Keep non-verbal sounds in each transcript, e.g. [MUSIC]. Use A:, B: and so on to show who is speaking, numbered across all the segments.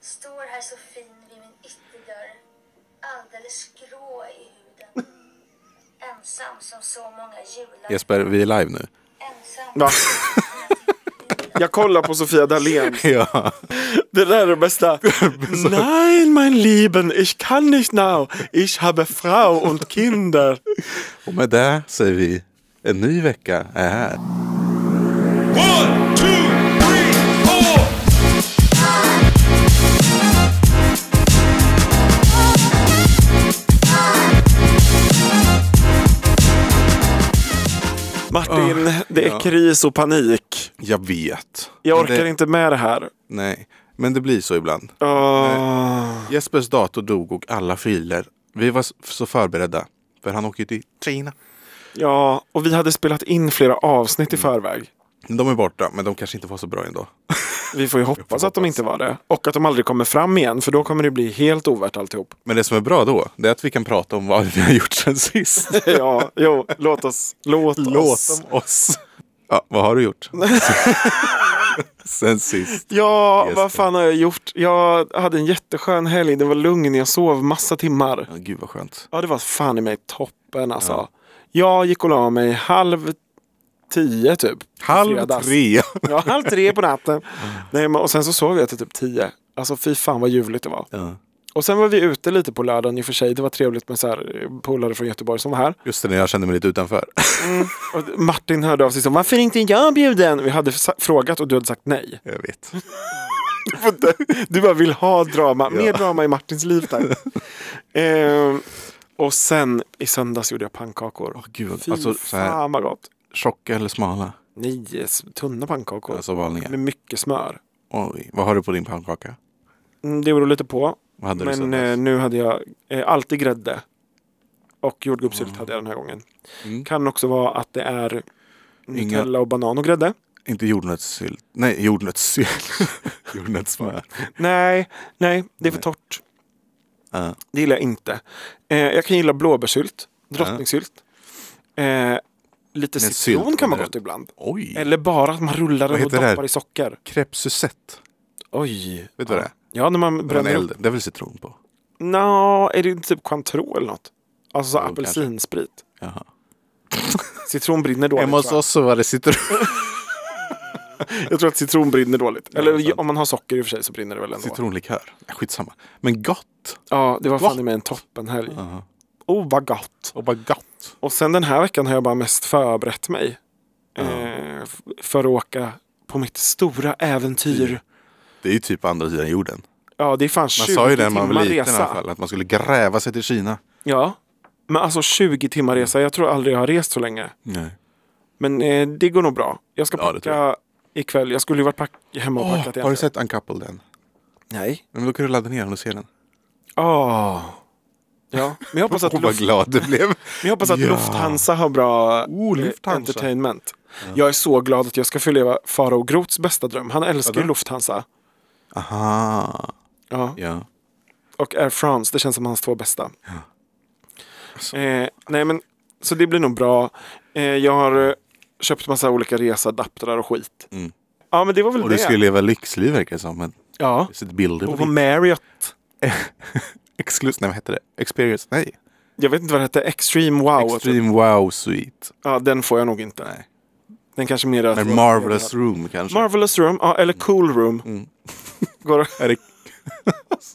A: Står här så fin vid min ytterdörr, alldeles grå i huden. Ensam som så många jular.
B: Jesper, vi är live nu.
A: Ensam.
C: Va? Jag kollar på Sofia Dalén.
B: [LAUGHS] ja.
C: Det där är det bästa. Nej, mein Lieben, ich kann nicht now. Ich habe Frau und Kinder.
B: Och med det säger vi, en ny vecka är här.
D: One, two, three, four.
C: Martin, det är
B: ja.
C: kris och panik.
B: Jag vet.
C: Jag
B: Men
C: orkar
B: det,
C: inte med det här. Ah.
B: Nej, men det blir så ibland.
C: Åh.
B: Jespers dator dog och alla filer. Vi var s- så förberedda. För han åker ju till Kina.
C: Ja, och vi hade spelat in flera avsnitt i förväg.
B: De är borta, men de kanske inte var så bra ändå.
C: Vi får ju hoppas att de inte var det. Och att de aldrig kommer fram igen, för då kommer det bli helt ovärt alltihop.
B: Men det som är bra då, det är att vi kan prata om vad vi har gjort sen sist.
C: [LAUGHS] Ja, jo, låt oss. Låt, oss.
B: [LAUGHS] Låt oss. Ja, vad har du [LAUGHS] gjort? sen sist.
C: Ja,
B: Just det.
C: vad fan har jag gjort? Jag hade en jätteskön helg. Den var lugn. Jag sov massa timmar.
B: Ja, gud vad skönt.
C: Ja, det var fan i mig toppen alltså. Jag gick och la mig halv tio typ. på
B: Halv
C: fredags.
B: tre.
C: Ja, halv tre på natten.
B: [LAUGHS]
C: [LAUGHS] Nej, men, och sen så sov jag till typ tio. Alltså fy fan vad ljuvligt det var.
B: Ja.
C: Och sen var vi ute lite på lördagen i och för sig. Det var trevligt med så här eh, polare från Göteborg som var här.
B: Just det, när jag kände mig lite utanför. Mm.
C: Och Martin hörde av sig som varför är inte jag bjuden? Vi hade sa- frågat och du hade sagt nej.
B: Jag vet.
C: Du bara vill ha drama. Mer drama i Martins liv [LAUGHS] där. eh, och sen i söndags gjorde jag pannkakor.
B: Åh, gud,
C: Fy
B: alltså, så här-
C: fan vad gott.
B: Tjocka eller smala?
C: Nej, s- tunna pannkakor.
B: Alltså
C: Med
B: valningar.
C: mycket smör.
B: Oj, vad har du på din pannkaka?
C: Mm, Det beror lite på.
B: Vad hade du
C: Men eh,
B: söndags?
C: nu hade jag eh, alltid grädde. Och jordgubbssylt hade jag den här gången.
B: Mm.
C: Kan också vara att det är Nutella och banan och grädde.
B: Inte jordnötssylt. Nej, jordnötssylt. [LAUGHS]
C: [LAUGHS]
B: Jordnötssmör.
C: Nej, nej, det är för torrt.
B: Ja.
C: Det gillar jag inte. Eh, jag kan gilla blåbärssylt, drottningsylt. Eh, lite
B: sylt
C: citron kan man
B: generellt.
C: gott ibland.
B: Oj! Eller...
C: Eller bara att man rullar
B: Vad
C: den och
B: heter det här?
C: doppar i socker.
B: Crepesuzette.
C: Oj.
B: Vet du vad det är?
C: Ja, när man
B: Det är en
C: bränner
B: eld. Det är väl citron på?
C: Nå, är det typ Cointreau eller något? Alltså så
B: Jo,
C: apelsinsprit.
B: Jaha.
C: [LAUGHS] Citron brinner dåligt.
B: Hemma hos
C: va?
B: oss så var det citron. [LAUGHS]
C: Jag tror att citron brinner dåligt.
B: det är
C: Eller
B: sant.
C: om man har socker i och för sig så brinner det väl ändå.
B: Citronlikör. Nej, Skitsamma. Men gott!
C: Ja, det var
B: Gott.
C: fan i mig en toppenhelg.
B: Ja.
C: Oh, vad gott.
B: Och bara gott.
C: Och sen den här veckan har jag bara mest förberett mig.
B: Ja.
C: Eh, f- för att åka på mitt stora äventyr.
B: Det är ju typ på andra sidan jorden.
C: Ja, det är fan 20
B: Mm. Man sa ju det när man
C: timmar
B: var liten i alla
C: resa.
B: fall. Att man skulle gräva sig till Kina.
C: Ja, men alltså 20 timmar resa. Jag tror aldrig jag har rest så länge.
B: Nej.
C: Men eh, det går nog bra. Jag ska
B: Ja, det
C: packa
B: tror
C: ikväll. Jag skulle ju varit pack- hemma och packat
B: har
C: egentligen.
B: du sett Uncoupled än?
C: Nej.
B: Men då kan du ladda ner den och se den.
C: Åh. Ja, men jag hoppas att,
B: Åh, vad
C: Luft- men
B: glad du blev.
C: jag hoppas att
B: Ja.
C: Lufthansa har bra
B: Oh,
C: eh,
B: Lufthansa.
C: entertainment. Jag är så glad att jag ska få leva Farao Groths bästa dröm. Han älskar ju Lufthansa.
B: Aha.
C: Ja.
B: Ah, Ja.
C: Och Air France, det känns som hans två bästa. Eh, nej men, så det blir nog bra. Eh, jag har eh, köpt massa olika reseadaptrar och skit.
B: Mm.
C: Ja men det var väl
B: Och
C: det.
B: du ska ju leva lyxliv verkar det som. Men
C: Ja.
B: jag har sett bilder på
C: Och på
B: din.
C: Marriott.
B: Exclus- Nej, vad hette det? Experience? Nej.
C: Jag vet inte vad det hette. Extreme Wow.
B: Extreme Wow Suite.
C: Ja, den får jag nog inte.
B: Nej.
C: Den kanske mer...
B: Eller Marvelous Room kanske.
C: Marvelous Room, ja, eller Cool Room. [LAUGHS] Går,
B: är det...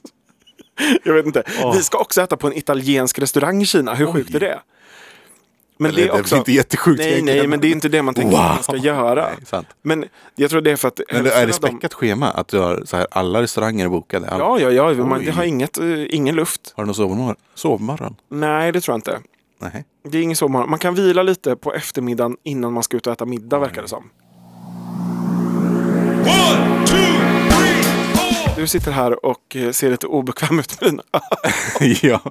C: [LAUGHS] jag vet inte. Vi ska också äta på en italiensk restaurang i Kina. Hur sjukt är det? Men
B: Eller, det är också... inte jättesjukt
C: Nej,
B: egentligen.
C: nej, men det är inte det man tänker att man ska
B: Wow.
C: göra.
B: Nej, sant.
C: Men jag tror det är för att...
B: Men det, är
C: hälften
B: det
C: av dem-
B: späckat schema? Att du har så här, alla restauranger är bokade? Allt.
C: Ja, ja, ja. Man,
B: Oj.
C: det har inget, eh, ingen luft.
B: Har du någon sovmorgon? sovmorgon?
C: Nej, det tror jag inte.
B: Nej.
C: Det är ingen sovmorgon. Man kan vila lite på eftermiddagen innan man ska ut och äta middag, verkar det som.
D: One, two, three, four.
C: Du sitter här och eh, ser lite obekväm ut med dina
B: [LAUGHS] ja,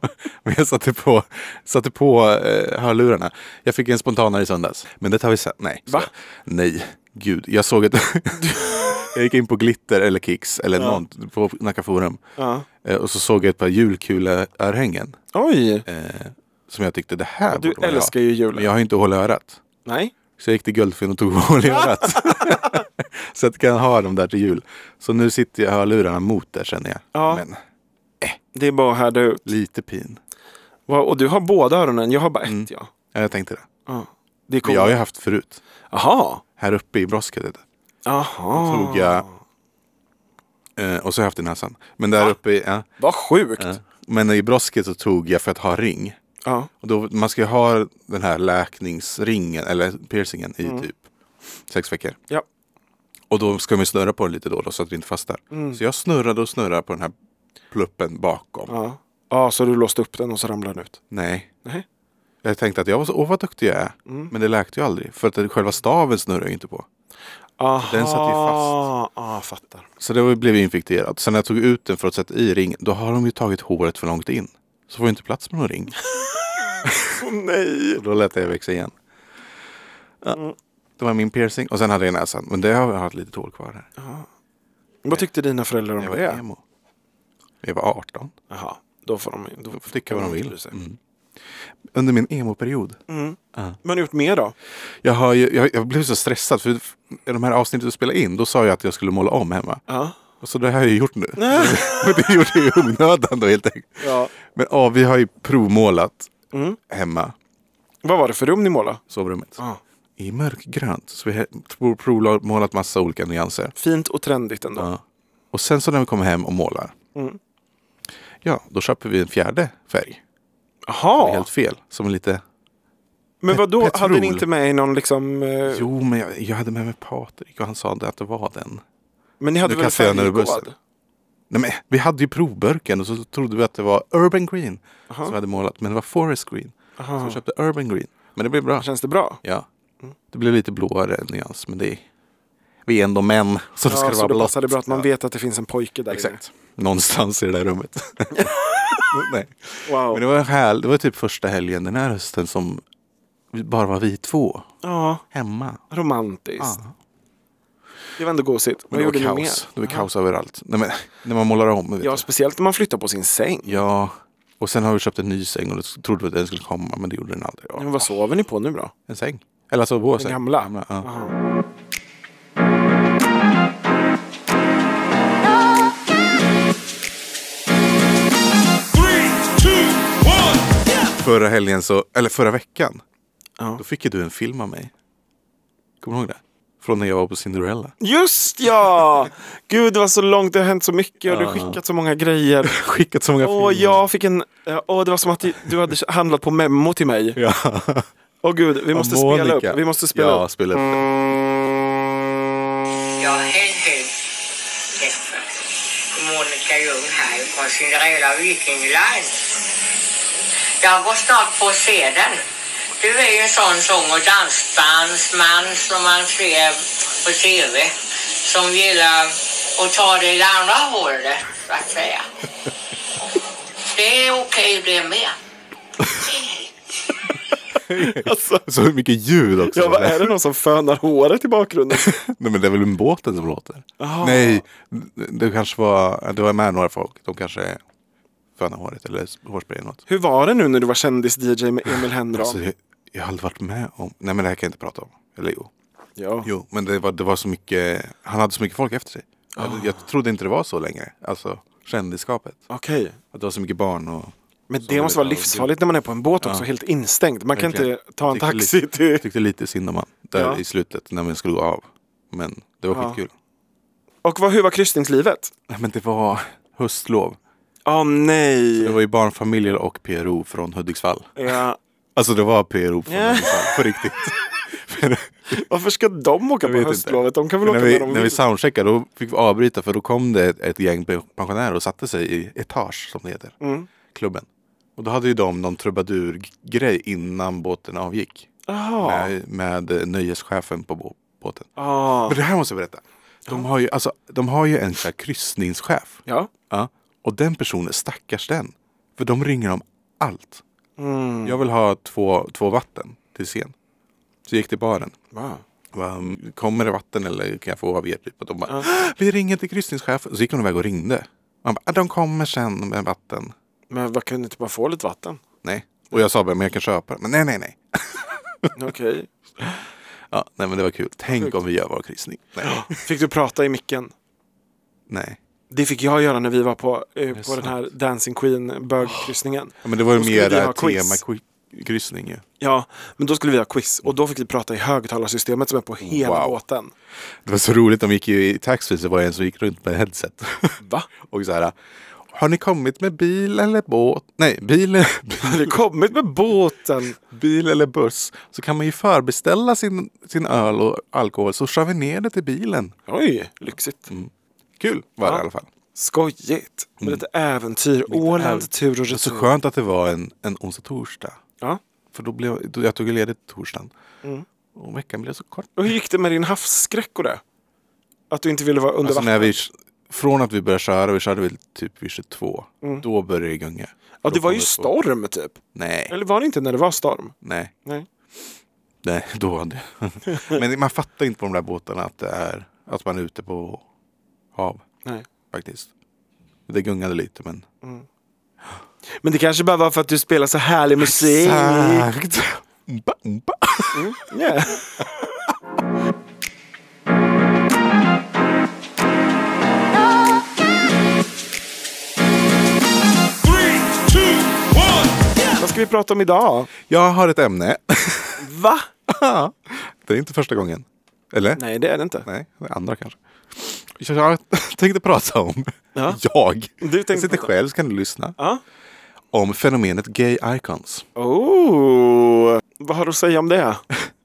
B: men jag satte på, satte på eh, hörlurarna. Jag fick en spontanare i söndags. Men det tar vi sen. Nej.
C: Va?
B: Så, nej, gud. Jag såg att... [LAUGHS] jag gick in på Glitter eller Kicks eller någon på Nacka Forum.
C: [LAUGHS] Ja.
B: Eh, och så såg jag ett par julkuleörhängen.
C: Oj!
B: Eh, som jag tyckte det här
C: du
B: borde man
C: älskar
B: ha.
C: ju julen.
B: Men jag har ju inte hål i örat.
C: Nej.
B: [LAUGHS]
C: [LAUGHS]
B: Så jag gick till Guldfynd och tog hål i örat. så att jag kan ha dem där till jul. Så nu sitter jag hörlurarna mot där känner jag.
C: Ja.
B: Men
C: Det är bara att härda ut.
B: lite pin.
C: Va, Och du har båda öronen, jag har bara ett
B: Mm.
C: ja.
B: Ja, jag tänkte det.
C: ja. Det är
B: Men
C: coolt.
B: jag har ju haft förut.
C: Aha.
B: Här uppe i brosket.
C: Aha.
B: Tog jag. Eh, och så har jag haft i näsan. Men där uppe i... Ja,
C: Vad sjukt.
B: ja. Men i brosket så tog jag för att ha ring.
C: Ja.
B: Och då, man ska ju ha den här läkningsringen eller piercingen i typ sex veckor.
C: Mm. Ja.
B: Och då ska man ju snurra på den lite då, då så att det inte fastnar.
C: Mm.
B: Så jag snurrade och snurrade på den här pluppen bakom.
C: Ja. ja, så du låste upp den och så ramlade den ut.
B: Nej.
C: Nej.
B: Jag tänkte att jag var så, åh vad duktig jag är.
C: Mm.
B: Men det läkte ju aldrig. För att det- själva staven snurrar jag ju inte på.
C: Aha.
B: Den satt ju fast.
C: Ja, fattar.
B: Så det var- blev ju infekterat. Sen när jag tog ut den för att sätta i ring, då har de ju tagit håret för långt in. Så får jag inte plats med någon ring.
C: [LAUGHS] Åh nej. Mm.
B: Och då lät jag växa igen. Ja. Det var min piercing. Och sen hade jag i näsan. Men det har jag haft lite hål kvar här.
C: Vad tyckte dina föräldrar om
B: Jag var
C: det?
B: emo. Jag var 18.
C: Jaha, då får de då
B: får tycka vad de vill. Mm.
C: bry sig.
B: Under min emo-period.
C: Mm. Men har ni gjort mer då?
B: Jag, har ju, jag, jag blev så stressad. För i de här avsnitten du spelade in, då sa jag att jag skulle måla om hemma.
C: Ja.
B: Och så det har jag ju gjort nu. [LAUGHS] Och det gjorde jag i onödan då helt enkelt.
C: ja.
B: Men ja, vi har ju provmålat hemma,
C: Vad var det för rum ni målade?
B: sovrummet.
C: Ja.
B: I mörkgrönt. Så vi har prov- provmålat massa olika nyanser.
C: Fint och trendigt ändå.
B: Ja. Och sen så när vi kommer hem och målar. Ja, då köper vi en fjärde färg.
C: Jaha,
B: Helt fel. Som är lite...
C: men vad då
B: Petrol.
C: Hade ni inte med er någon liksom... eh,
B: Jo, men jag, jag hade med mig Patrik och han sa det att det var den.
C: men ni hade
B: nu
C: väl
B: kastar jag den över
C: färggåvad?
B: bussen. Nej, men vi hade ju provburken och så trodde vi att det var Urban Green som vi hade målat. Men det var Forest Green. Så vi köpte Urban Green. Men det blev bra.
C: Känns det bra?
B: Ja.
C: Mm.
B: Det blev lite blåare nyans, men det är... Vi är ändå män, så då ska
C: ja,
B: det
C: så
B: vara
C: då
B: blått.
C: passar det bra att man vet att det finns en pojke där
B: Exakt. Någonstans i det där
C: [LAUGHS]
B: rummet. Nej.
C: inne. Wow.
B: Men det var, här, det var typ första helgen den här hösten som vi bara var vi två
C: Ja,
B: hemma.
C: romantiskt. Det var ändå gosigt. Vad
B: det var
C: gjorde ni mer?
B: kaos. Det var kaos överallt. Nej, men, när man målar om. Vet
C: Ja,
B: du.
C: speciellt när man flyttar på sin säng.
B: ja. Och sen har vi köpt en ny säng och då trodde vi att den skulle komma, men det gjorde den aldrig.
C: Men
B: Ja.
C: vad sover ni på nu då?
B: En säng. Eller alltså vår säng.
C: gamla?
B: Ja.
D: Three, two, one.
B: Förra helgen så, eller förra veckan,
C: Ja.
B: då fick ju du en film av mig. Kommer du ihåg det? Från när jag var på Cinderella. [LAUGHS]
C: Just ja! Gud, det var så långt. Det har hänt så mycket och du har skickat så många grejer.
B: Skickat så många
C: Åh,
B: filmer.
C: [LAUGHS] jag fick en... ja, Åh, det var som att du hade handlat på memo till mig.
B: Ja.
C: Åh gud, vi måste
B: Monica.
C: spela upp. Vi måste spela
B: ja,
C: upp.
B: spela upp.
E: Ja, hej hej. Jesper. Monica Ljung här från Cinderella Viking Line. Jag går snart på att se den. Du är ju en sån sång och dansbandsman som man ser på tv. Som gillar att ta det i det andra hållet, så att säga. Det är okej det med. Hej, hej.
C: Alltså,
B: Så mycket ljud också.
C: ja, vad är det någon som fönar håret i [LAUGHS] bakgrunden?
B: Nej men det är väl en båten som låter?
C: Jaha.
B: Nej, det kanske var, det var med några folk. De kanske fönar håret eller hårspray eller något.
C: Hur var det nu när du var kändis-DJ med Emil Henram?
B: Alltså, jag, jag har aldrig varit med om, nej men det här kan jag inte prata om. Eller jo.
C: ja.
B: Jo, men det var, det var så mycket, han hade så mycket folk efter sig.
C: Ah.
B: Jag, jag trodde inte det var så länge, alltså kändisskapet.
C: Okej.
B: Att det var så mycket barn och...
C: Men
B: Så
C: det måste vara
B: det-
C: livsfarligt när man är på en båt också, helt instängd. Man kan
B: Verkligen.
C: inte ta en
B: Tyckte lite-
C: taxi till...
B: Tyckte lite synd om han där
C: Ja.
B: i slutet när man skulle gå av. Men det var
C: Ja.
B: skitkul.
C: Och vad, hur var kryssningslivet?
B: Nej men det var höstlov.
C: Åh
B: Det
C: nej!
B: var ju barnfamiljer och PRO från Hudiksvall.
C: Ja.
B: Alltså det var PRO från
C: Ja.
B: Hudiksvall, på riktigt.
C: [LAUGHS]
B: För-
C: Varför ska de åka
B: Jag vet
C: på
B: inte.
C: höstlovet? De kan väl
B: för
C: åka
B: när,
C: när
B: vi,
C: de
B: när vi
C: vill?
B: soundcheckade då fick vi avbryta för då kom det ett, ett gäng pensionärer och satte sig i Etage som det heter.
C: Mm.
B: Klubben. Och då hade ju de någon trubadurgrej innan båten avgick.
C: Jaha.
B: Med, med eh, nöjeschefen på bå- båten.
C: Ah.
B: Men det här måste jag berätta. De har ju, alltså, de har ju en sån här kryssningschef.
C: Ja.
B: Ja. Och den personen, stackars den. För de ringer om allt.
C: Mm.
B: Jag vill ha två, två vatten till scen. Så jag gick till baren.
C: Wow.
B: Va, Kommer det vatten eller kan jag få av er? Typ. Och de bara, vi ringer till kryssningschefen. Så gick hon iväg och ringde. Man bara, "Ah, de kommer sen med vatten.
C: Men vad kunde inte bara få lite vatten?
B: Nej. Och jag sa bara, men jag kan köpa det. Men nej, nej, nej.
C: Okej.
B: Ja, nej men det var kul. Tänk om vi gör vår kryssning. Nej.
C: Fick du prata i micken?
B: nej.
C: Det fick jag göra när vi var på, eh, på
B: sant?
C: den här Dancing Queen bögkryssningen.
B: Ja, men det var ju
C: Då skulle
B: mer
C: vi ha quiz.
B: temakryssning ju.
C: Ja, men då skulle vi ha quiz och då fick vi prata i högtalarsystemet som är på hela
B: Wow.
C: båten.
B: Det var så roligt, de gick ju i taxfree så var det en som gick runt med headset.
C: Va?
B: [LAUGHS] Och så här, har ni kommit med bil eller båt? Nej, bil, [LAUGHS]
C: Har du kommit med båten?
B: bil eller buss. Så kan man ju förbeställa sin, sin öl och alkohol så kör vi ner det till bilen.
C: Oj, lyxigt.
B: Mm. Kul var det
C: Ja.
B: i alla fall.
C: Skojigt. Med lite äventyr. Åland,
B: Mm. äv-
C: tur och
B: Det var så
C: retur.
B: skönt att det var en, en onsdag torsdag.
C: Ja.
B: För då blev då jag tog ju ledigt torsdagen.
C: Mm.
B: Och veckan blev så kort.
C: Och hur gick det med din havsskräck och det? Att du inte ville vara under
B: Alltså
C: vatten?
B: när vi, från att vi började köra, vi körde väl typ vid 22. Då började det gunga.
C: Mm.
B: Då
C: ja, det
B: kom
C: var ju
B: på-
C: storm typ.
B: Nej,
C: Eller var det inte när det var storm?
B: nej.
C: Nej.
B: Nej, då hade [LAUGHS] Men man fattar inte på de där båtarna att det är att man är ute på hav
C: Nej.
B: faktiskt. Det gungade lite men.
C: Men det kanske bara var för att du spelar så härlig musik.
B: Exakt! Umpa, umpa.
C: Ja.
D: Three, two, one.
C: Vad ska vi prata om idag?
B: Jag har ett ämne. [LAUGHS]
C: Va?
B: Det är inte första gången. Eller?
C: Nej, det är det inte.
B: Nej, det är andra kanske. Jag [LAUGHS] tänkte prata om,
C: Ja.
B: jag,
C: tänkte
B: jag sitter
C: prata.
B: själv så kan du lyssna,
C: Ja.
B: om fenomenet gay icons.
C: Oh, vad har du att säga om det?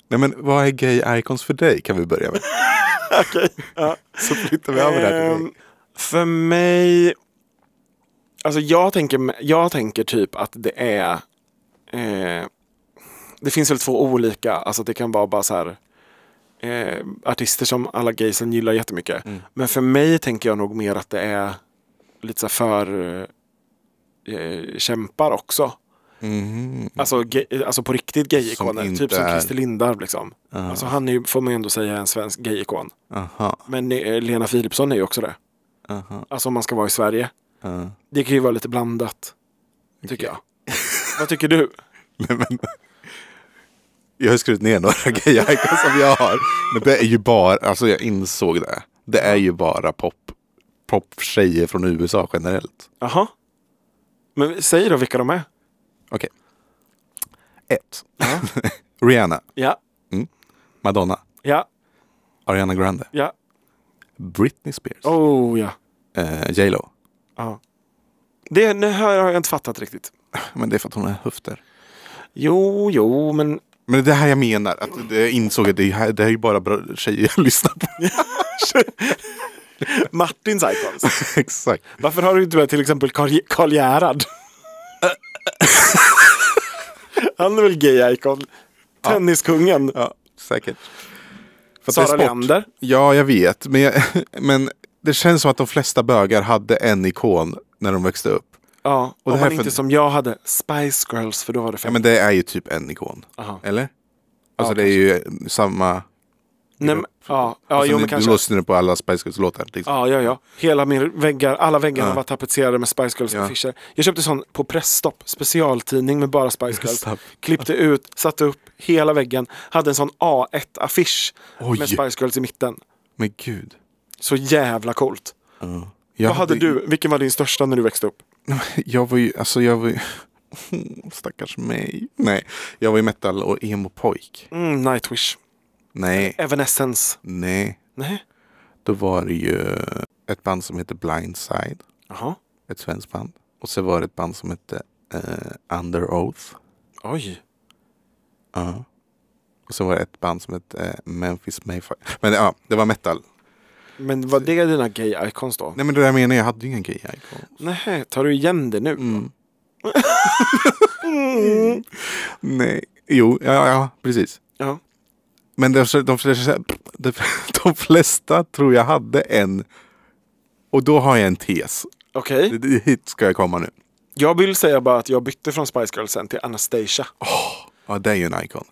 B: Nej men vad är gay icons för dig kan vi börja med.
C: [LAUGHS] Okej. Ja.
B: [LAUGHS] Så flyttar vi över det här till
C: Ehm,
B: dig.
C: För mig... Alltså jag tänker, jag tänker typ att det är... Eh, det finns väl två olika. Alltså det kan vara bara så här... Eh, artister som alla gaysen gillar jättemycket.
B: Mm.
C: Men för mig tänker jag nog mer att det är lite så här för... Eh, kämpar också.
B: Mhm.
C: Alltså, ge- alltså på riktigt
B: Som
C: gay-ikoner.
B: inte
C: Typ som
B: är-
C: Christer Lindarw liksom. Alltså han är, ju- får man ju ändå säga, en svensk gay-ikon.
B: Aha.
C: Men eh, Lena Philipsson är ju också det.
B: Aha.
C: Alltså om man ska vara i Sverige.
B: Ja.
C: Det kan ju vara lite blandat. Tycker jag. Vad tycker du?
B: Nej, men, jag har ju skrivit ner några [LAUGHS] gay-icons som jag har. Men det är ju bara, alltså jag insåg det. Det är ju bara pop, pop-tjejer från USA generellt.
C: Jaha. Men säg då vilka de är.
B: Okej. Ett. [LAUGHS] Rihanna,
C: Ja,
B: Madonna,
C: ja,
B: Ariana Grande,
C: ja.
B: Britney Spears,
C: Oh ja.
B: eh, J Lo.
C: ja. Det nu hör jag inte fattat riktigt.
B: Men det är för att hon har höfter.
C: Jo, jo, men
B: Men det är det här jag menar, att jag insåg att det här, det här är ju bara bra tjejer jag [LAUGHS] lyssnar på.
C: Martins icons.
B: Exakt.
C: [LAUGHS] Varför har du inte med till exempel Karl- Karl Gerhard? Han är väl gay-icon? Tenniskungen?
B: Ja, säkert. För att det är
C: Sara
B: sport.
C: Leander?
B: Ja, jag vet. Men, jag, [LAUGHS] men det känns som att de flesta bögar hade en ikon när de växte upp.
C: Ja,
B: Och
C: och
B: det
C: om
B: här
C: man
B: för-
C: inte som jag hade Spice Girls, för då var det
B: Ja,
C: fem.
B: men det är ju typ en ikon.
C: Aha.
B: Eller? Alltså det är ju samma...
C: Nej, men, ja, ja,
B: alltså,
C: jo,
B: ni-
C: men
B: du
C: kanske.
B: lyssnar på alla Spice Girls-låtar. Liksom.
C: Ja, ja, ja. Hela min väggar, alla väggarna var tapetserade med Spice
B: Ja.
C: Girls-affischer. Jag köpte sån på Pressstopp, specialtidning med bara Spice Girls.
B: Pressstopp.
C: Klippte ut, satte upp hela väggen. Hade en sån A1-affisch
B: Oj.
C: med Spice Girls i mitten.
B: Men gud.
C: Så jävla coolt.
B: Jag
C: Vad hade du, vilken var din största när du växte upp?
B: [LAUGHS] Jag var ju... Alltså jag var ju... [LAUGHS] Stackars mig. Nej, jag var ju metal och emo-pojk.
C: Mm, Nightwish.
B: Nej,
C: Evanescence.
B: nej.
C: Nej.
B: Då var det ju ett band som heter Blindside.
C: Jaha.
B: Ett svenskt band. Och så var det ett band som hette eh, Under Oath.
C: Oj.
B: Ja. Och så var det ett band som hette eh, Memphis Mayfire. Men ja, det var metal.
C: Men var det dina gay-icons då?
B: Nej men det där menar jag, jag hade ju ingen gay icon.
C: Nej, tar du igen det nu?
B: Mm. Nej. Jo, ja, ja precis.
C: Ja.
B: Men de, de, flesta, de, de flesta tror jag hade en. Och då har jag en tes.
C: Okej.
B: Det- det- Hit ska jag komma nu.
C: Jag vill säga bara att jag bytte från Spice Girls sen till Anastasia.
B: Ja, det är ju en icon.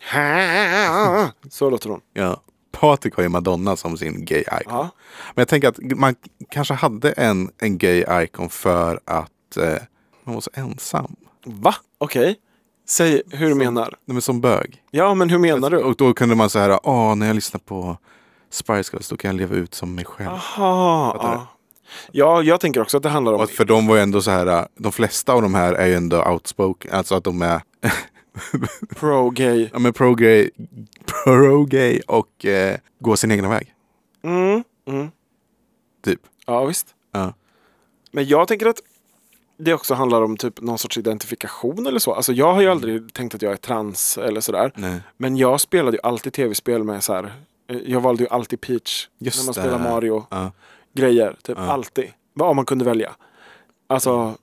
C: [LAUGHS] Så låter hon.
B: Ja. Patrik har ju Madonna som sin gay icon.
C: Ja.
B: Men jag tänker att man kanske hade en, en gay icon för att eh, man var så ensam.
C: Va? Okej. Säg hur du menar.
B: Nej, men som bög.
C: Ja, men hur menar du?
B: Och då kunde man så här, ah, när jag lyssnar på Spice Girls då kan jag leva ut som mig själv.
C: Ah. Aha, ja. ah. ja, jag tänker också att det handlar om...
B: Och för de var ju ändå så här, de flesta av de här är ju ändå outspoken, alltså att de är [LAUGHS]
C: pro-gay.
B: ja, men pro-gay pro -gay och eh, går sin egna väg.
C: Mm, mm.
B: Typ.
C: Ja, visst.
B: Ja.
C: Men jag tänker att det också handlar om typ någon sorts identifikation eller så. Alltså jag har ju aldrig tänkt att jag är trans eller sådär.
B: Mm. Nej.
C: Men jag spelade ju alltid tv-spel med så här. eh, Jag valde ju alltid Peach
B: Just
C: när man
B: det.
C: spelar Mario.
B: Ja.
C: Grejer, typ alltid. Vad- Om man kunde välja. Alltså,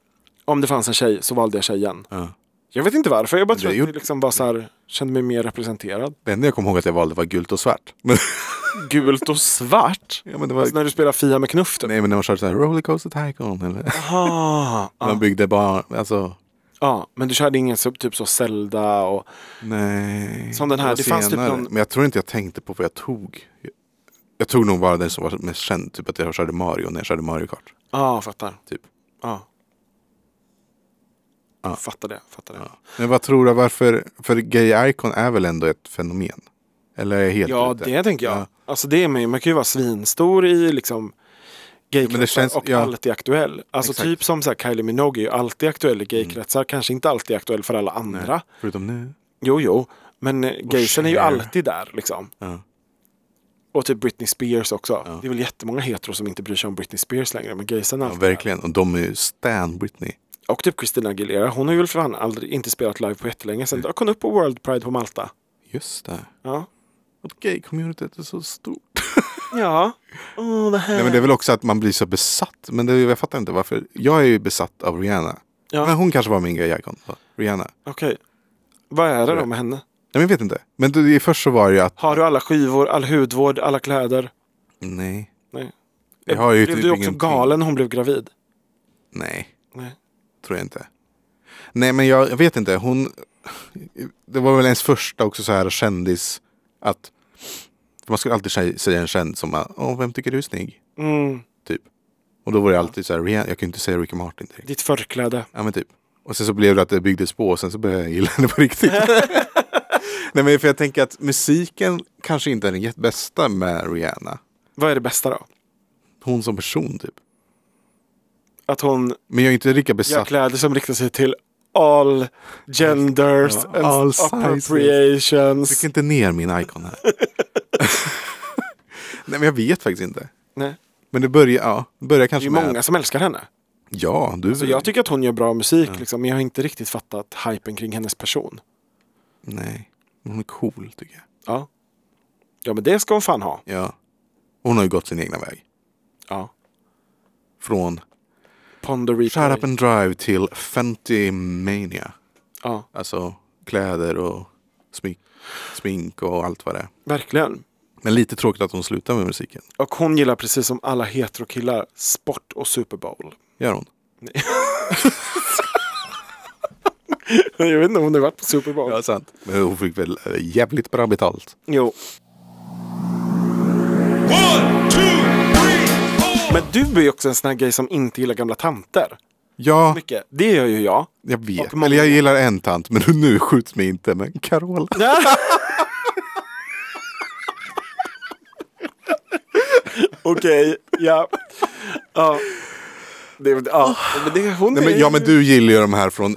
C: om det fanns en tjej så valde jag tjejen.
B: Mm. Ja.
C: Jag vet inte varför, jag bara tror
B: Det
C: att
B: gjorde-
C: det liksom var så här, kände mig mer representerad.
B: Det enda jag kommer ihåg att jag valde var gult och svart. [LAUGHS] Men,
C: Gult och svart?
B: ja, men det var,
C: Alltså när du spelar Fia med knuff typ.
B: nej, men när man körde så här Rollercoaster Tycoon eller
C: Ah, ah,
B: man byggde bara, alltså
C: ah. Men du körde ingen så, typ så Zelda och...
B: nej.
C: Som den här,
B: var
C: det fanns typ någon-
B: Men jag tror inte jag tänkte på vad jag tog. Jag tog nog bara den som var mest känd, typ att jag körde Mario när jag körde Mario Kart.
C: Ja, ah, fattar.
B: Typ.
C: Ja. Fattar det, fattar det.
B: Men vad tror du varför? För gay icon är väl ändå ett fenomen? Eller är jag helt
C: Ja,
B: ute?
C: det tänker jag.
B: Ja.
C: Alltså det är mig. Man kan ju vara svinstor i liksom
B: men det
C: gaykretsar
B: känns-
C: och
B: ja.
C: alltid aktuell. Alltså
B: Exakt. Mm.
C: typ som så här Kylie Minogue är ju alltid aktuell i gaykretsar. Kanske inte alltid aktuell för alla andra.
B: Förutom nu.
C: Jo, jo. Men eh, gaysen är ju
B: Cher.
C: alltid där liksom.
B: Ja.
C: Och typ Britney Spears också. Det är väl jättemånga hetero som inte bryr sig om Britney Spears längre. Men gaysen är
B: Ja,
C: alltid där.
B: verkligen. Och de är ju Stan Britney.
C: Och typ Christina Aguilera. Hon har ju väl för fan aldrig inte spelat live på jättelänge. Sen dök hon upp på World Pride på Malta.
B: Just det.
C: Ja.
B: Att gay-communityt är så stort. [LAUGHS]
C: Ja. Åh, vad
B: Nej,
C: härligt.
B: men det är väl också att man blir så besatt. Men det, jag fattar inte varför. Jag är ju besatt av Rihanna.
C: Ja.
B: Men hon kanske var min gay-icon. då. Rihanna.
C: Okej. Vad är det då med henne?
B: Nej, men jag vet inte. Men det, det- först så var det ju att...
C: Har du alla skivor, all hudvård, alla kläder?
B: Nej.
C: Nej.
B: Jag har ju
C: blev
B: typ
C: du också
B: ingenting.
C: galen när hon blev gravid?
B: Nej.
C: Nej.
B: Tror jag inte. Nej men jag, jag vet inte. Hon... Det var väl ens första också så här kändis. Att... för Man skulle alltid sä- säga en känd som bara, Åh, vem tycker du är snygg?
C: Mm.
B: Typ. Och då var det alltid så här, Rihanna, jag kunde inte säga Ricky Martin direkt.
C: Ditt förkläde.
B: Ja men typ. Och sen så blev det att det byggdes på och sen så började jag gilla henne på
C: [LAUGHS]
B: riktigt. Nej men för jag tänker att musiken kanske inte är den jätte- bästa med Rihanna.
C: Vad är det bästa då?
B: Hon som person typ.
C: Att hon
B: Men jag är inte lika
C: gör
B: besatt.
C: kläder som riktar sig till all genders
B: Ja,
C: and
B: all
C: appropriations.
B: Tryck inte ner min icon här. [LAUGHS] Nej men jag vet faktiskt inte.
C: Nej.
B: Men det börjar, ja, det börjar
C: Det är
B: kanske
C: ju
B: med...
C: många som älskar henne.
B: Ja, du.
C: Så jag tycker att hon gör bra musik, liksom, men jag har inte riktigt fattat hypen kring hennes person.
B: Nej, men hon är cool tycker jag.
C: Ja. Ja, men det ska hon fan ha.
B: Ja. Hon har ju gått sin egna väg.
C: Ja.
B: Från
C: Ponder
B: Shut
C: replay.
B: Up and Drive till Fenty Mania.
C: Ja,
B: Alltså kläder och smink, smink och allt vad det är.
C: verkligen.
B: Men lite tråkigt att hon slutar med musiken.
C: Och hon gillar precis som alla heterokillar sport och Super Bowl. [LAUGHS]
B: Gör hon?
C: Jag vet inte om hon har varit på Super Bowl.
B: sant. Men hon fick väl eh, jävligt bra betalt.
C: Jo.
D: One, two, three, four.
C: Men du är ju också en sån här grej som inte gillar gamla tanter.
B: Ja,
C: Mycket. Det gör ju jag.
B: jag vet.
C: Och många-
B: Eller jag gillar en tant, men nu skjuts mig inte. Men
C: [LAUGHS]
B: Carola.
C: [LAUGHS] Okej, ja. Ja. Det, är- ja. Men det, hon
B: Nej, men,
C: är
B: ja, men du gillar ju de här från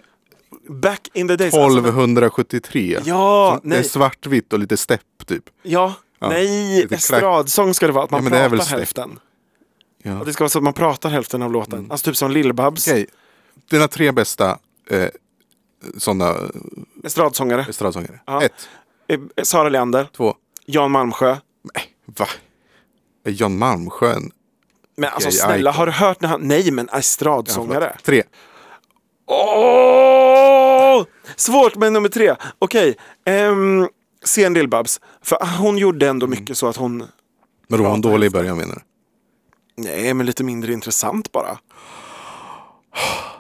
C: back in the days. Alltså, men-
B: 1273.
C: Ja,
B: Som- det är
C: nej.
B: svartvitt och lite stepp typ.
C: ja,
B: Ja,
C: nej,
B: lite crack.
C: estradsång ska det vara. Att man
B: Ja, men det är
C: pratar
B: väl snyggt.
C: hälften.
B: Ja. Mm.
C: Att det ska vara så att man pratar hälften av låten. Alltså typ som Lill-Babs,
B: Okej, dina tre bästa eh, sådana
C: estradsångare.
B: estradsångare.
C: Ja.
B: Ett,
C: Eh, Sara Leander,
B: två,
C: Jan Malmsjö.
B: nej, va? Är Jan Malmsjö en...
C: Men alltså
B: Okej,
C: snälla,
B: icon.
C: har du hört när han... Nej, men
B: Förlåt,
C: estradsångare.
B: Tre.
C: Åh! Svårt med nummer tre. Okej. ehm, se en Lill-Babs. För hon gjorde ändå
B: Mm.
C: mycket så att hon...
B: Men då var hon dålig i början menar du?
C: Nej, men lite mindre intressant bara.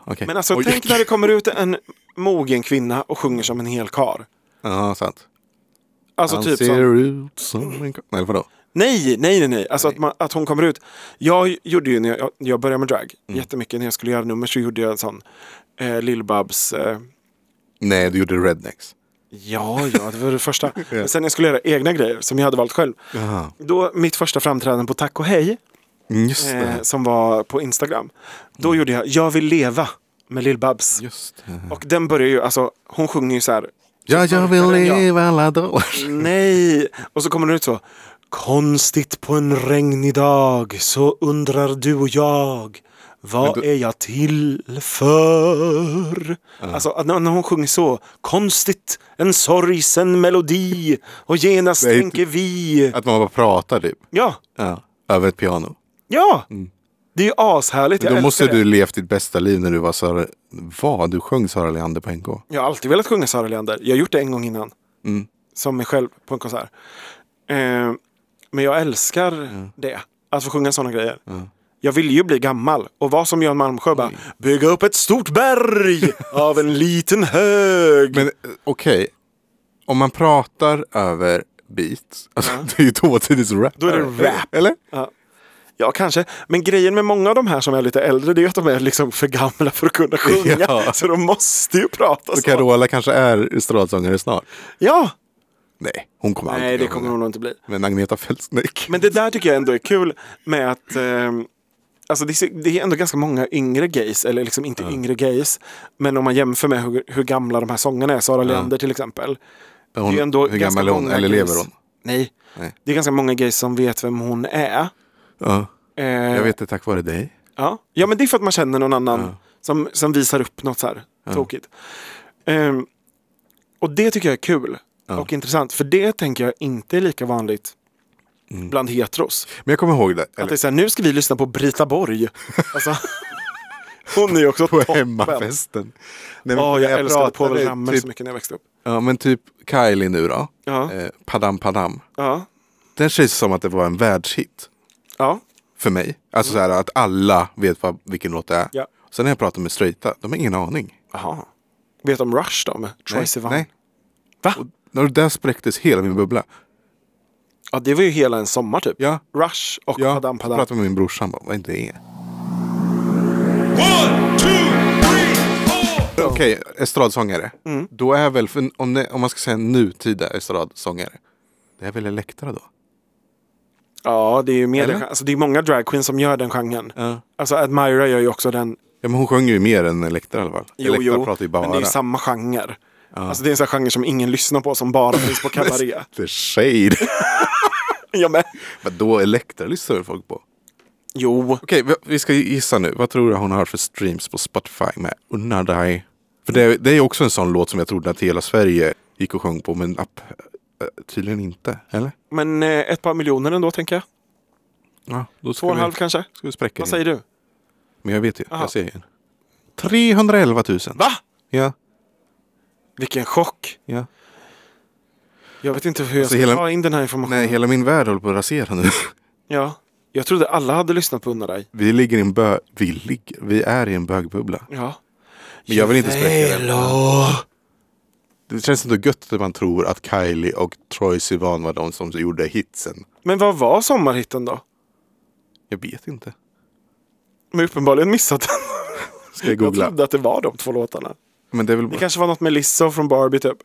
B: Okej.
C: Men alltså,
B: Oj.
C: tänk när det kommer ut en mogen kvinna och sjunger som en hel kar.
B: Ja, sant.
C: Alltså
B: Han
C: typ
B: ser
C: som...
B: ut som en... ko- Nej, vadå?
C: Nej, nej, nej, nej. Alltså Att, man, att hon kommer ut. Jag gjorde ju när jag, jag
B: Mm.
C: började med drag jättemycket. När jag skulle göra nummer så gjorde jag en sån eh, Lill-Babs... Eh,
B: Nej, du gjorde rednecks.
C: Ja, ja, det var
B: [LAUGHS]
C: det första. Men sen när jag skulle göra egna grejer som jag hade valt själv.
B: Jaha.
C: Då, mitt första framträdande på Tack och Hej,
B: Mm, Just det. Mm.
C: eh, som var på Instagram. Då gjorde jag Jag vill leva med Lill-Babs.
B: Just det.
C: Och den börjar ju, alltså hon sjunger ju så här.
B: Ja, jag vill
C: Ja.
B: leva alla dagar. [LAUGHS]
C: Nej! Och så kommer det ut så. Konstigt på en regnig dag så undrar du och jag vad
B: Men då-
C: är jag till för? Alltså att när när hon sjunger så. Konstigt, en sorgsen melodi och genast
B: Det är
C: tänker vi.
B: Att man bara pratar typ.
C: Ja,
B: Ja. Över ett piano.
C: ja! Det är ju ashärligt.
B: Mm. Men
C: jag
B: då måste
C: älskar
B: du
C: det.
B: levt ditt bästa liv när du var Sara... Vad? Du sjöng Sara Leander på NK?
C: Jag har alltid velat sjunga Sara Leander. Jag har gjort det en gång innan.
B: Mm.
C: Som mig själv på en konsert. Eh, men jag älskar
B: Mm.
C: det. Att få sjunga sådana grejer. Jag ville ju bli gammal och vara som Jan Malmsjö bara
B: Mm.
C: Bygga upp ett stort berg av en liten hög.
B: Men eh, okej. Om man pratar över beats. [LAUGHS] Alltså, Det är ju dåtidens rap.
C: Då är det rap. Alltså,
B: Eller?
C: Ja, kanske. Men grejen med många av de här som är lite äldre det är ju att de är liksom för gamla för
B: [LAUGHS]
C: att kunna sjunga.
B: Ja.
C: Så de måste ju prata
B: Så
C: så.
B: Carola kanske är estradsångare snart.
C: Ja!
B: Nej, hon kommer
C: Nej,
B: aldrig
C: det
B: kunna
C: kommer
B: sjunga.
C: de nog inte bli.
B: Men Agneta Fältsnäck.
C: Men det där tycker jag ändå är kul med att ehm, Alltså det är- det är ändå ganska många yngre gays, eller liksom inte yngre gays, men om man jämför med hur, hur gamla de här sångarna är, Sara Leander till exempel.
B: Hon,
C: det är ändå
B: hur
C: ganska
B: gammal är hon?
C: många
B: Eller lever
C: gays-
B: hon?
C: Nej.
B: Nej.
C: Det är ganska många gays som vet vem hon är.
B: Ja.
C: Eh,
B: Jag vet det tack vare dig.
C: Ja. ja, men det är för att man känner någon annan som, som visar upp något så här tokigt. Ehm, och det tycker jag är kul och intressant, för det tänker jag inte är lika vanligt
B: Mm.
C: bland heteros.
B: Men jag kommer ihåg det.
C: Att det
B: Eller,
C: är så här, nu ska vi lyssna på Brita Borg. Alltså, hon är ju också
B: på
C: toppen.
B: hemmafesten. Nej, men
C: Ja,
B: när
C: jag älskade
B: pratade
C: Povel Ramel
B: typ,
C: så mycket när jag växte upp.
B: Ja, men typ Kylie nu då.
C: Ja.
B: Eh, padam Padam.
C: Ja,
B: Den känns som att det var en världshit.
C: ja,
B: För mig. Alltså så här att alla vet vad, vilken låt det är.
C: Mm. Ja.
B: Sen när jag pratar med straighta, de har ingen aning.
C: jaha. Vet de Rush då med Troye Sivan?
B: nej.
C: Va?
B: När det där spräcktes hela min bubbla.
C: Ja, det var ju hela en sommar typ.
B: Ja.
C: Rush och
B: Ja,
C: Padam
B: jag
C: Padam.
B: pratade med min brorsa, han bara, vad är det?
D: One, two, three, four.
B: Okej, estradsångare.
C: Mm.
B: Då är väl, för om, det, om man ska säga nutida estradsångare. Det är väl Elektra då?
C: Ja, det är ju mer
B: Eller?
C: den, alltså, det är många drag queens som gör den genren. Alltså Admira gör ju också den.
B: Ja, men hon sjunger ju mer än Elektra i alla fall.
C: Jo,
B: Elektra
C: jo,
B: pratar ju bara.
C: men det är ju samma genre. Alltså det är en sån här genre som ingen lyssnar på som bara finns
B: [LAUGHS]
C: på kabaré.
B: The shade. [LAUGHS]
C: Jag med.
B: Vadå Elektra lyssnar väl folk på?
C: Jo,
B: Okej, vi- vi ska gissa nu. Vad tror du hon har för streams på Spotify med Unna dig? För det, det är också en sån låt som jag trodde att hela Sverige gick och sjöng på, men app, eh, tydligen inte. Eller?
C: men eh, ett par miljoner ändå tänker jag.
B: Ja, då ska
C: Två och en
B: vi-
C: halv kanske?
B: Ska vi spräcka
C: Vad
B: den.
C: säger du?
B: Men jag vet ju.
C: Aha.
B: Jag säger ju. 311 000.
C: Va?
B: Ja,
C: Vilken chock.
B: ja.
C: Jag vet inte hur jag
B: Alltså,
C: ska
B: hela-
C: ta in den här informationen.
B: Nej, hela min värld håller på att rasera nu. [LAUGHS]
C: Ja. Jag trodde alla hade lyssnat på Unna dig.
B: Vi ligger i en bö... Vi ligger? Vi är i en bögbubbla.
C: Ja.
B: Men jag vill inte spräcka den.
C: Hello.
B: Det känns inte gött att man tror att Kylie och Troy Sivan var de som gjorde hitsen.
C: Men vad var sommarhitten då?
B: Jag vet inte.
C: Men uppenbarligen missat den.
B: Ska jag
C: Jag
B: googla?
C: trodde att det var de två låtarna.
B: Men det är väl bara...
C: Det kanske var något med Lizzo från Barbie typ.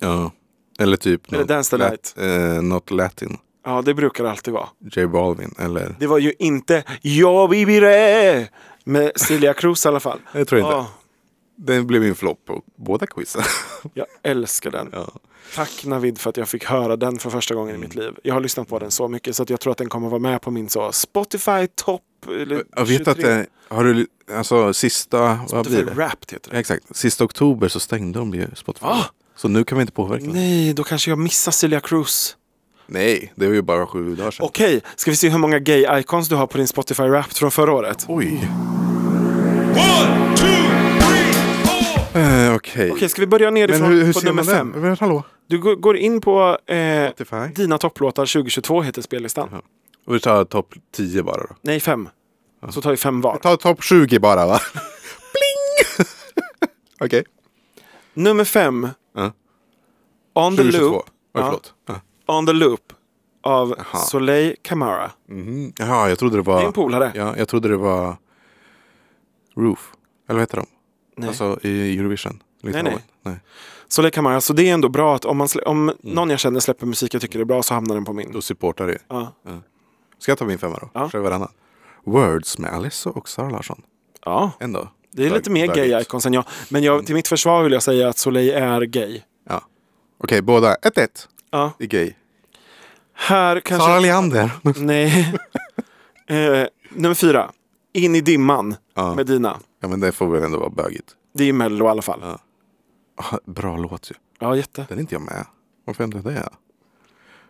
B: Ja. Eller typ
C: Eller
B: något
C: Dance the
B: lat-
C: Night.
B: eh, något latin.
C: Ja, det brukar det alltid vara.
B: J Balvin eller...
C: Det var ju inte Jag bibire med Celia Cruz i alla fall.
B: Det tror jag inte.
C: Ja,
B: Det blev min flopp på båda quizen. [LAUGHS]
C: jag älskar den.
B: ja.
C: Tack Navid för att jag fick höra den för första gången i mitt
B: Mm.
C: liv. Jag har lyssnat på den så mycket så att jag tror att den kommer vara med på min så Spotify topp. eller
B: Jag vet att eh,
C: 23.
B: det... Har du... Alltså sista... Vad
C: Spotify
B: blir det?
C: Wrapped heter det.
B: Exakt. Sista oktober så stängde de ju Spotify.
C: Ah!
B: Så nu kan vi inte påverka dem.
C: Nej, då kanske jag missar Celia Cruz.
B: Nej, det var ju bara sju dagar sedan.
C: Okej, ska vi se hur många gay icons du har på din Spotify Wrapped från förra året? Okej,
B: Oj.
D: One, two, three, four.
B: Eh, Okej.
C: ska vi börja
B: Men
C: nerifrån
B: hur, hur
C: på
B: ser
C: nummer
B: man
C: fem?
B: den? Men, hallå?
C: Du går- går in på eh,
B: Spotify.
C: Dina topplåtar 2022 heter spellistan.
B: Och vi tar topp 10 bara då.
C: Nej, fem. Så tar vi fem var.
B: Ta topp 20 bara
C: [LAUGHS]
B: va? Bling! Okej.
C: Nummer fem.
B: Ja.
C: On the
B: 2022.
C: loop.
B: Oj,
C: Ja.
B: förlåt. Ja.
C: On the loop. Av Soleil Camara.
B: Mhm. Jaha, jag trodde det var...
C: Det är en polare.
B: Ja, jag trodde det var... Roof. Eller vad heter de?
C: Nej.
B: Alltså i Eurovision. Little
C: nej.
B: Women. nej.
C: Så det kan man, alltså det är ändå bra att om, man slä,
B: Mm.
C: om någon jag känner släpper musik jag tycker är bra så hamnar den på min.
B: Då supportar det.
C: Ja.
B: Ska jag ta min femma då?
C: Ja.
B: Kör varannan. Words med Alice och Sara Larsson.
C: ja.
B: Ändå.
C: Det är lite
B: Där- Mm.
C: mer
B: där
C: gay
B: dit.
C: icons än jag. Men jag, till mitt försvar vill jag säga att Soleil är gay.
B: Ja. Okej, båda. 1-1
C: Ja.
B: i gay.
C: Här kanske...
B: Sara Leander. [LAUGHS]
C: Nej. [LAUGHS] eh, nummer fyra. In i dimman
B: Ja.
C: med Dina.
B: ja, men det får väl ändå vara bögigt.
C: Det är Mello i alla fall. Ja,
B: Ah, Bra låt ju.
C: jätte.
B: Den är inte jag med. Varför är inte det?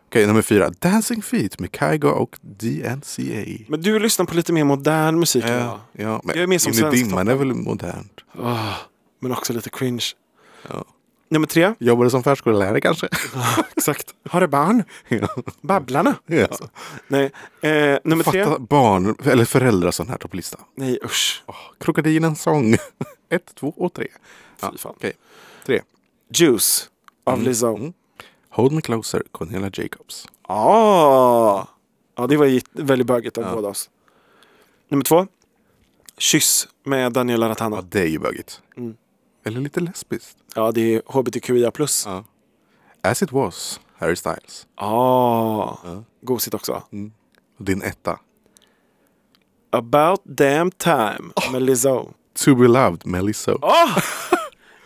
B: Okej, nummer fyra. Dancing Feet med Kygo och DNCA.
C: Men du lyssnar på lite mer modern musik än jag.
B: ja, men
C: Jag är mer som
B: In i
C: svensk
B: dimman är väl modernt?
C: Men också lite cringe.
B: Ja. [LAUGHS]
C: Nummer tre.
B: Jobbade som förskollärare
C: [LAUGHS]
B: kanske?
C: Exakt. Har det barn?
B: ja.
C: Babblarna.
B: ja.
C: Nej. Eh, nummer tre.
B: Fatta barn, eller föräldrar som här på listan.
C: Nej usch.
B: Krokodilens sång. [LAUGHS] Ett, två och tre. Ja,
C: Fy fan.
B: Okej, tre.
C: Juice. Av
B: Mm.
C: Lizzo.
B: Hold me closer, Cornelia Jacobs.
C: Ah. Ja, det var ju väldigt bögigt av båda oss. Nummer två. Kyss med Daniela
B: Ja,
C: Ratana.
B: det är ju bögigt.
C: Mm.
B: Eller lite lesbiskt.
C: Ja, det är hbtqia+. plus.
B: Ja. As it was, Harry Styles.
C: Ah. Gosigt också.
B: Mm. Din etta.
C: About damn time med Lizzo.
B: To be loved med Lizzo.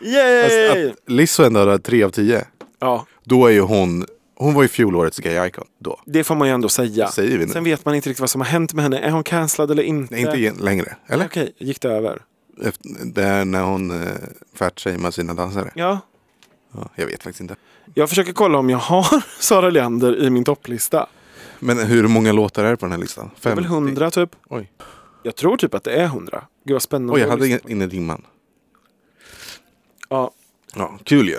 C: Yay!
B: Alltså, att Lizzo ändå hade tre av tio.
C: ja,
B: Då är ju hon, hon var ju fjolårets gay icon då.
C: det får man ju ändå säga.
B: Säger vi nu.
C: Sen vet man inte riktigt vad som har hänt med henne. Är hon cancellad eller inte?
B: Nej, inte igen- längre. Eller?
C: Okej, gick det över?
B: Efter, det är när hon eh, fatshamear sina dansare.
C: Ja.
B: Ja, jag vet faktiskt inte.
C: Jag försöker kolla om jag har [LAUGHS] Sara Leander i min topplista.
B: Men hur många låtar är det på den här listan?
C: Det är väl
B: 50?
C: hundra typ.
B: Oj.
C: Jag tror typ att det är 100. Gud vad spännande.
B: Oj, jag hade
C: att lyssna
B: ingen- in i dimman.
C: på. ja,
B: Ja, kul ju.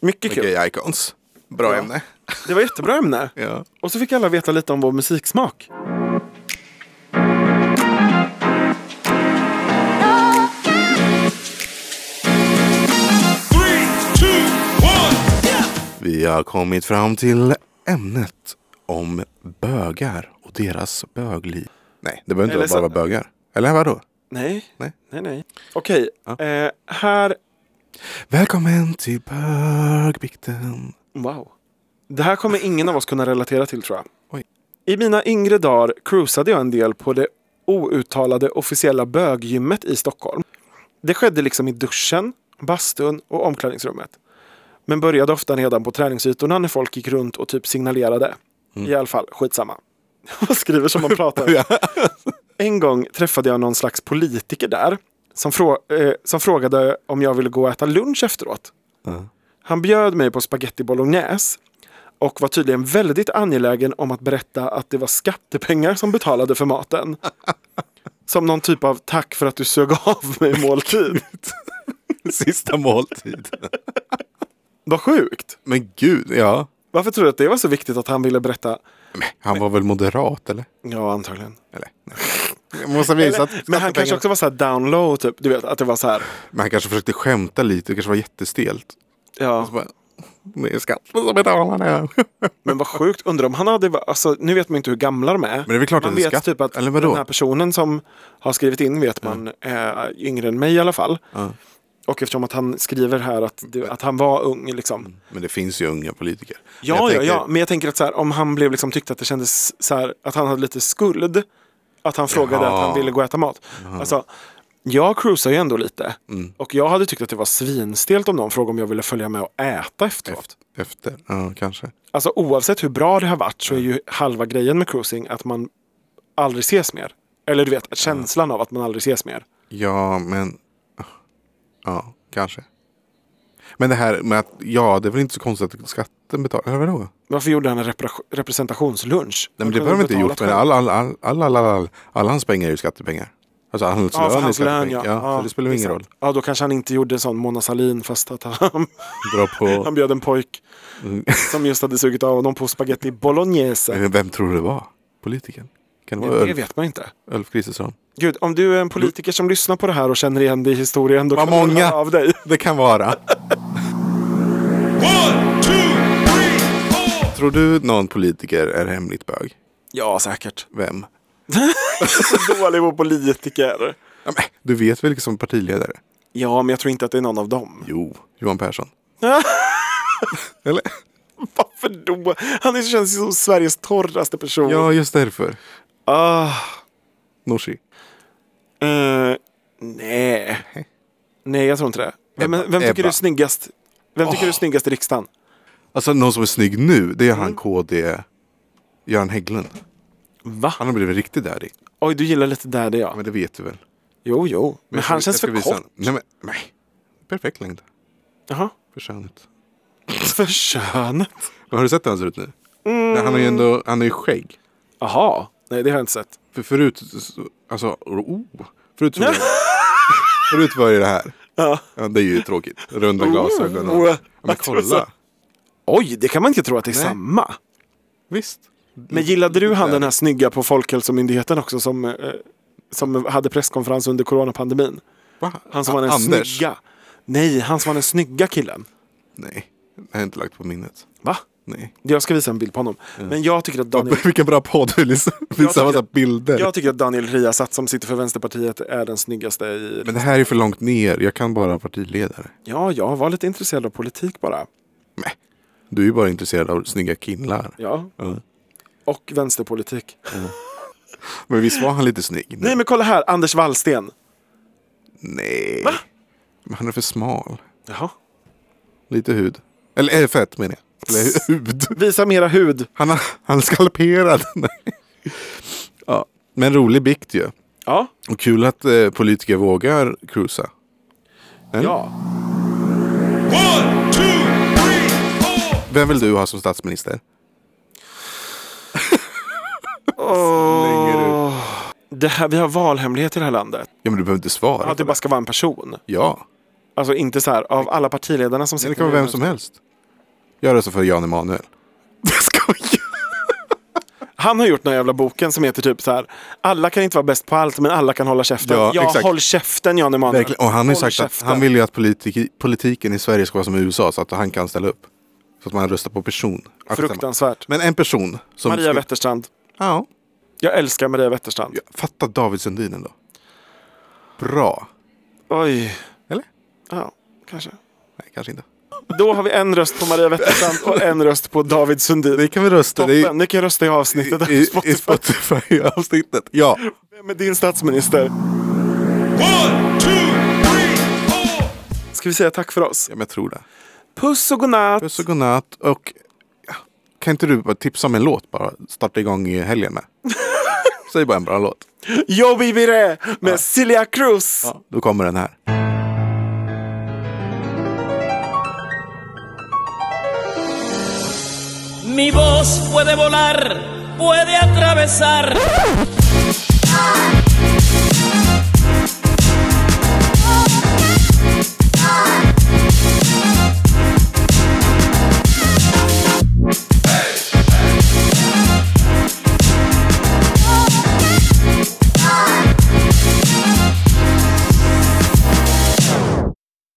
C: Mycket kul.
B: Gay icons. Bra
C: Ja.
B: ämne.
C: Det var jättebra ämne.
B: [LAUGHS] Ja.
C: Och så fick alla veta lite om vår musiksmak.
D: Three, two, one.
B: Vi har kommit fram till ämnet om bögar och deras bögliv. Nej, det behöver inte bara
C: Eller så-
B: vara bögar. Eller vadå?
C: Nej.
B: Nej.
C: Nej, nej. Okej. Eh, här...
B: Välkommen till
C: [LAUGHS]
B: bögbikten.
C: Wow. Det här kommer ingen av oss kunna relatera till tror jag.
B: Oj.
C: I mina yngre dagar cruisade jag en del på det outtalade officiella böggymmet i Stockholm. Det skedde liksom i duschen, bastun och omklädningsrummet. Men började ofta redan på träningsytorna när folk gick runt och typ signalerade. I alla fall, skitsamma. [LAUGHS] Man skriver som
B: [LAUGHS]
C: man pratar. En gång träffade jag någon slags politiker där som, frå- eh, som frågade om jag ville gå och äta lunch efteråt. Han bjöd mig på spaghetti bolognese och var tydligen väldigt angelägen om att berätta att det var skattepengar som betalade för [LAUGHS] maten. Som någon typ av tack för att du sög av mig måltid.
B: Sista måltid.
C: Vad sjukt!
B: Men gud, ja.
C: Varför tror du att det var så viktigt att han ville berätta?
B: Men, han var väl moderat eller?
C: Ja, antagligen.
B: Eller? Nej. Jag måste visa att
C: Men han kanske
B: skattepengar-
C: också var så här down low, typ. Du vet, att det var så här.
B: Men han kanske försökte skämta lite. Det kanske var jättestelt.
C: Ja.
B: Så bara, Det är skatten som betalar det.
C: Men vad sjukt, undrar om han hade, alltså nu vet man inte hur gamla de är. Men
B: det är väl klart
C: man
B: att det är
C: vet
B: skatt-
C: typ att
B: eller vadå?
C: den här personen som har skrivit in vet man är yngre än mig i alla fall. Och eftersom att han skriver här att, det, att han var ung liksom.
B: [LAUGHS] Mm. Men det finns ju unga politiker.
C: Ja,
B: Jag
C: ja,
B: tänker-
C: ja, men jag tänker att så här, om han blev liksom tyckte att det kändes så här, att han hade lite skuld. Att han frågade
B: Jaha.
C: att han ville gå och äta mat. Alltså, jag cruisar ju ändå lite.
B: Mm.
C: Och jag hade tyckt att det var svinstelt om någon frågade om jag ville följa med och äta efteråt.
B: Efter, ja kanske.
C: Alltså oavsett hur bra det har varit så är ju halva grejen med cruising att man aldrig ses mer. Eller du vet, känslan av att man aldrig ses mer.
B: Ja, men... Ja, kanske. Men det här med att, ja, det är väl inte så konstigt att skatten betalar, eller vadå? Nej,
C: Varför gjorde han en repra- representationslunch?
B: men det behöver de inte gjort, men alla, alla, alla, alla, alla, alla, alla hans pengar är ju skattepengar. Alltså hans
C: Ja, för
B: lön är
C: hans lön
B: skattepengar.
C: ja.
B: Ja, så det spelar ju ingen roll.
C: exakt. Ja, då kanske han inte gjorde en sån Mona Sahlin fast att han,
B: Dra
C: han
B: på...
C: bjöd en pojk
B: Mm.
C: [LAUGHS] som just hade sugit av honom på spaghetti bolognese.
B: Men Vem tror du det var? Politikern? Kan det vara
C: Det
B: Ulf,
C: vet man inte.
B: Ulf Kristersson?
C: Gud, om du är en politiker som lyssnar på det här och känner igen dig i historien då
B: Vad
C: kan du
B: många
C: höra av dig.
B: det kan vara.
D: One, two, three, four.
B: Tror du någon politiker är hemligt bög?
C: Ja, säkert.
B: Vem?
C: [LAUGHS] Dålig på politiker.
B: Ja, men Du vet väl liksom partiledare?
C: Ja, men jag tror inte att det är någon av dem.
B: Jo, Johan Persson. Eller?
C: [LAUGHS] Varför då? Han är, känns som Sveriges torraste person.
B: Ja, just därför.
C: Ah,
B: Nooshi.
C: eh, nej. [LAUGHS] Nej, jag tror inte det. Vem,
B: Ebba.
C: vem tycker du
B: Ebba.
C: är snyggast? Vem tycker du är snyggast i riksdagen?
B: Alltså någon som är snygg nu, det är
C: Mm.
B: han KD Göran Hägglund.
C: Va?
B: Han har blivit riktigt daddy.
C: Oj, du gillar lite där det ja.
B: Men det vet du väl?
C: Jo, jo. Men,
B: Jag ska-
C: han
B: jag
C: känns
B: ska
C: för
B: visa
C: kort.
B: honom. Nej, men nej. Perfekt längd.
C: Jaha.
B: För könet.
C: [LAUGHS] För könet.
B: Men Har du sett hur han ser ut nu?
C: Mm.
B: Nej, han har ju ändå, han har ju skägg.
C: Jaha. Nej, det har jag inte sett.
B: För förut, så- alltså, oh, förut så var
C: [LAUGHS]
B: det, förut var det det här.
C: Ja.
B: Ja, det är ju tråkigt. Runda glasögon.
C: Oh,
B: Och, ja, men
C: jag tror så.
B: kolla.
C: Oj, det kan man inte tro att det är
B: Nej.
C: samma.
B: Visst.
C: Men gillade du han den här snygga på Folkhälsomyndigheten också som, eh, som hade presskonferens under coronapandemin?
B: Va?
C: Han som var den
B: Anders?
C: snygga. Nej, han som var den snygga killen.
B: Nej, det har jag inte lagt på minnet.
C: Va?
B: Nej.
C: Jag ska visa en bild på honom. Men jag tycker att Daniel,
B: [LAUGHS] Vilken bra podd du liksom. visar massa bilder.
C: jag tycker att Daniel Riasat som sitter för Vänsterpartiet är den snyggaste i...
B: Men det här är för långt ner. Jag kan bara partiledare.
C: Ja, jag var lite intresserad av politik bara.
B: Du är ju bara intresserad av snygga killar.
C: Ja.
B: Ja.
C: Och vänsterpolitik.
B: Men visst var han lite snygg?
C: Nej men kolla här, Anders Wallsten.
B: Nej. Men han är för smal.
C: Jaha.
B: Lite hud. Eller eh, fett menar jag. Eller hu- hud.
C: Visa mera hud.
B: Han, har- han är skalperad. [LAUGHS] Nej. ja. Men rolig bikt ju.
C: Ja.
B: Och kul att eh, politiker vågar cruisa. Eller?
C: Ja.
D: One, two, three, four.
B: Vem vill du ha som
C: [LAUGHS]
B: statsminister? Slänger ut.
C: Det här, vi har valhemlighet i det här landet.
B: Ja men du behöver inte svara.
C: Att det bara ska vara en person.
B: Ja.
C: Alltså inte så här av alla partiledarna som sitter
B: Det kan vara
C: nu.
B: vem som helst. Jag röstar för Jan Emanuel. [LAUGHS] Skojar!
C: Han har gjort den här jävla boken som heter typ så här. Alla kan inte vara bäst på allt men alla kan hålla käften. Ja,
B: Ja, exakt.
C: håll käften Jan Emanuel.
B: Verkligen. Och han har ju
C: Håll
B: sagt att
C: käften.
B: han vill ju att politik, politiken i Sverige ska vara som i USA så att han kan ställa upp. Så att man röstar på person. Att
C: Fruktansvärt.
B: bestämma. Men en person som...
C: Maria
B: skulle-
C: Wetterstrand.
B: Ja.
C: Jag älskar Maria Wetterstrand.
B: Fatta David Sundin ändå. Bra.
C: Oj.
B: Eller?
C: Ja, kanske.
B: Nej, kanske inte.
C: Då har vi en röst på Maria Wetterstrand och en röst på David Sundin.
B: Det kan vi rösta. Det
C: Toppen,
B: är
C: ni kan rösta i
B: i,
C: avsnittet
B: i,
C: i
B: i
C: Spotify.
B: Spotify-avsnittet. Ja.
C: Vem är din statsminister?
D: One, two, three, four.
C: Ska vi säga tack för oss?
B: ja, men jag tror det.
C: Puss och godnatt!
B: Puss och godnatt. Och ja, kan inte du bara tipsa om en låt bara? Starta igång i helgen
C: [LAUGHS]
B: med. Säg bara en bra låt.
C: Yo viviré med Celia Cruz!
B: Då kommer den här.
F: Mi voz puede volar, puede atravesar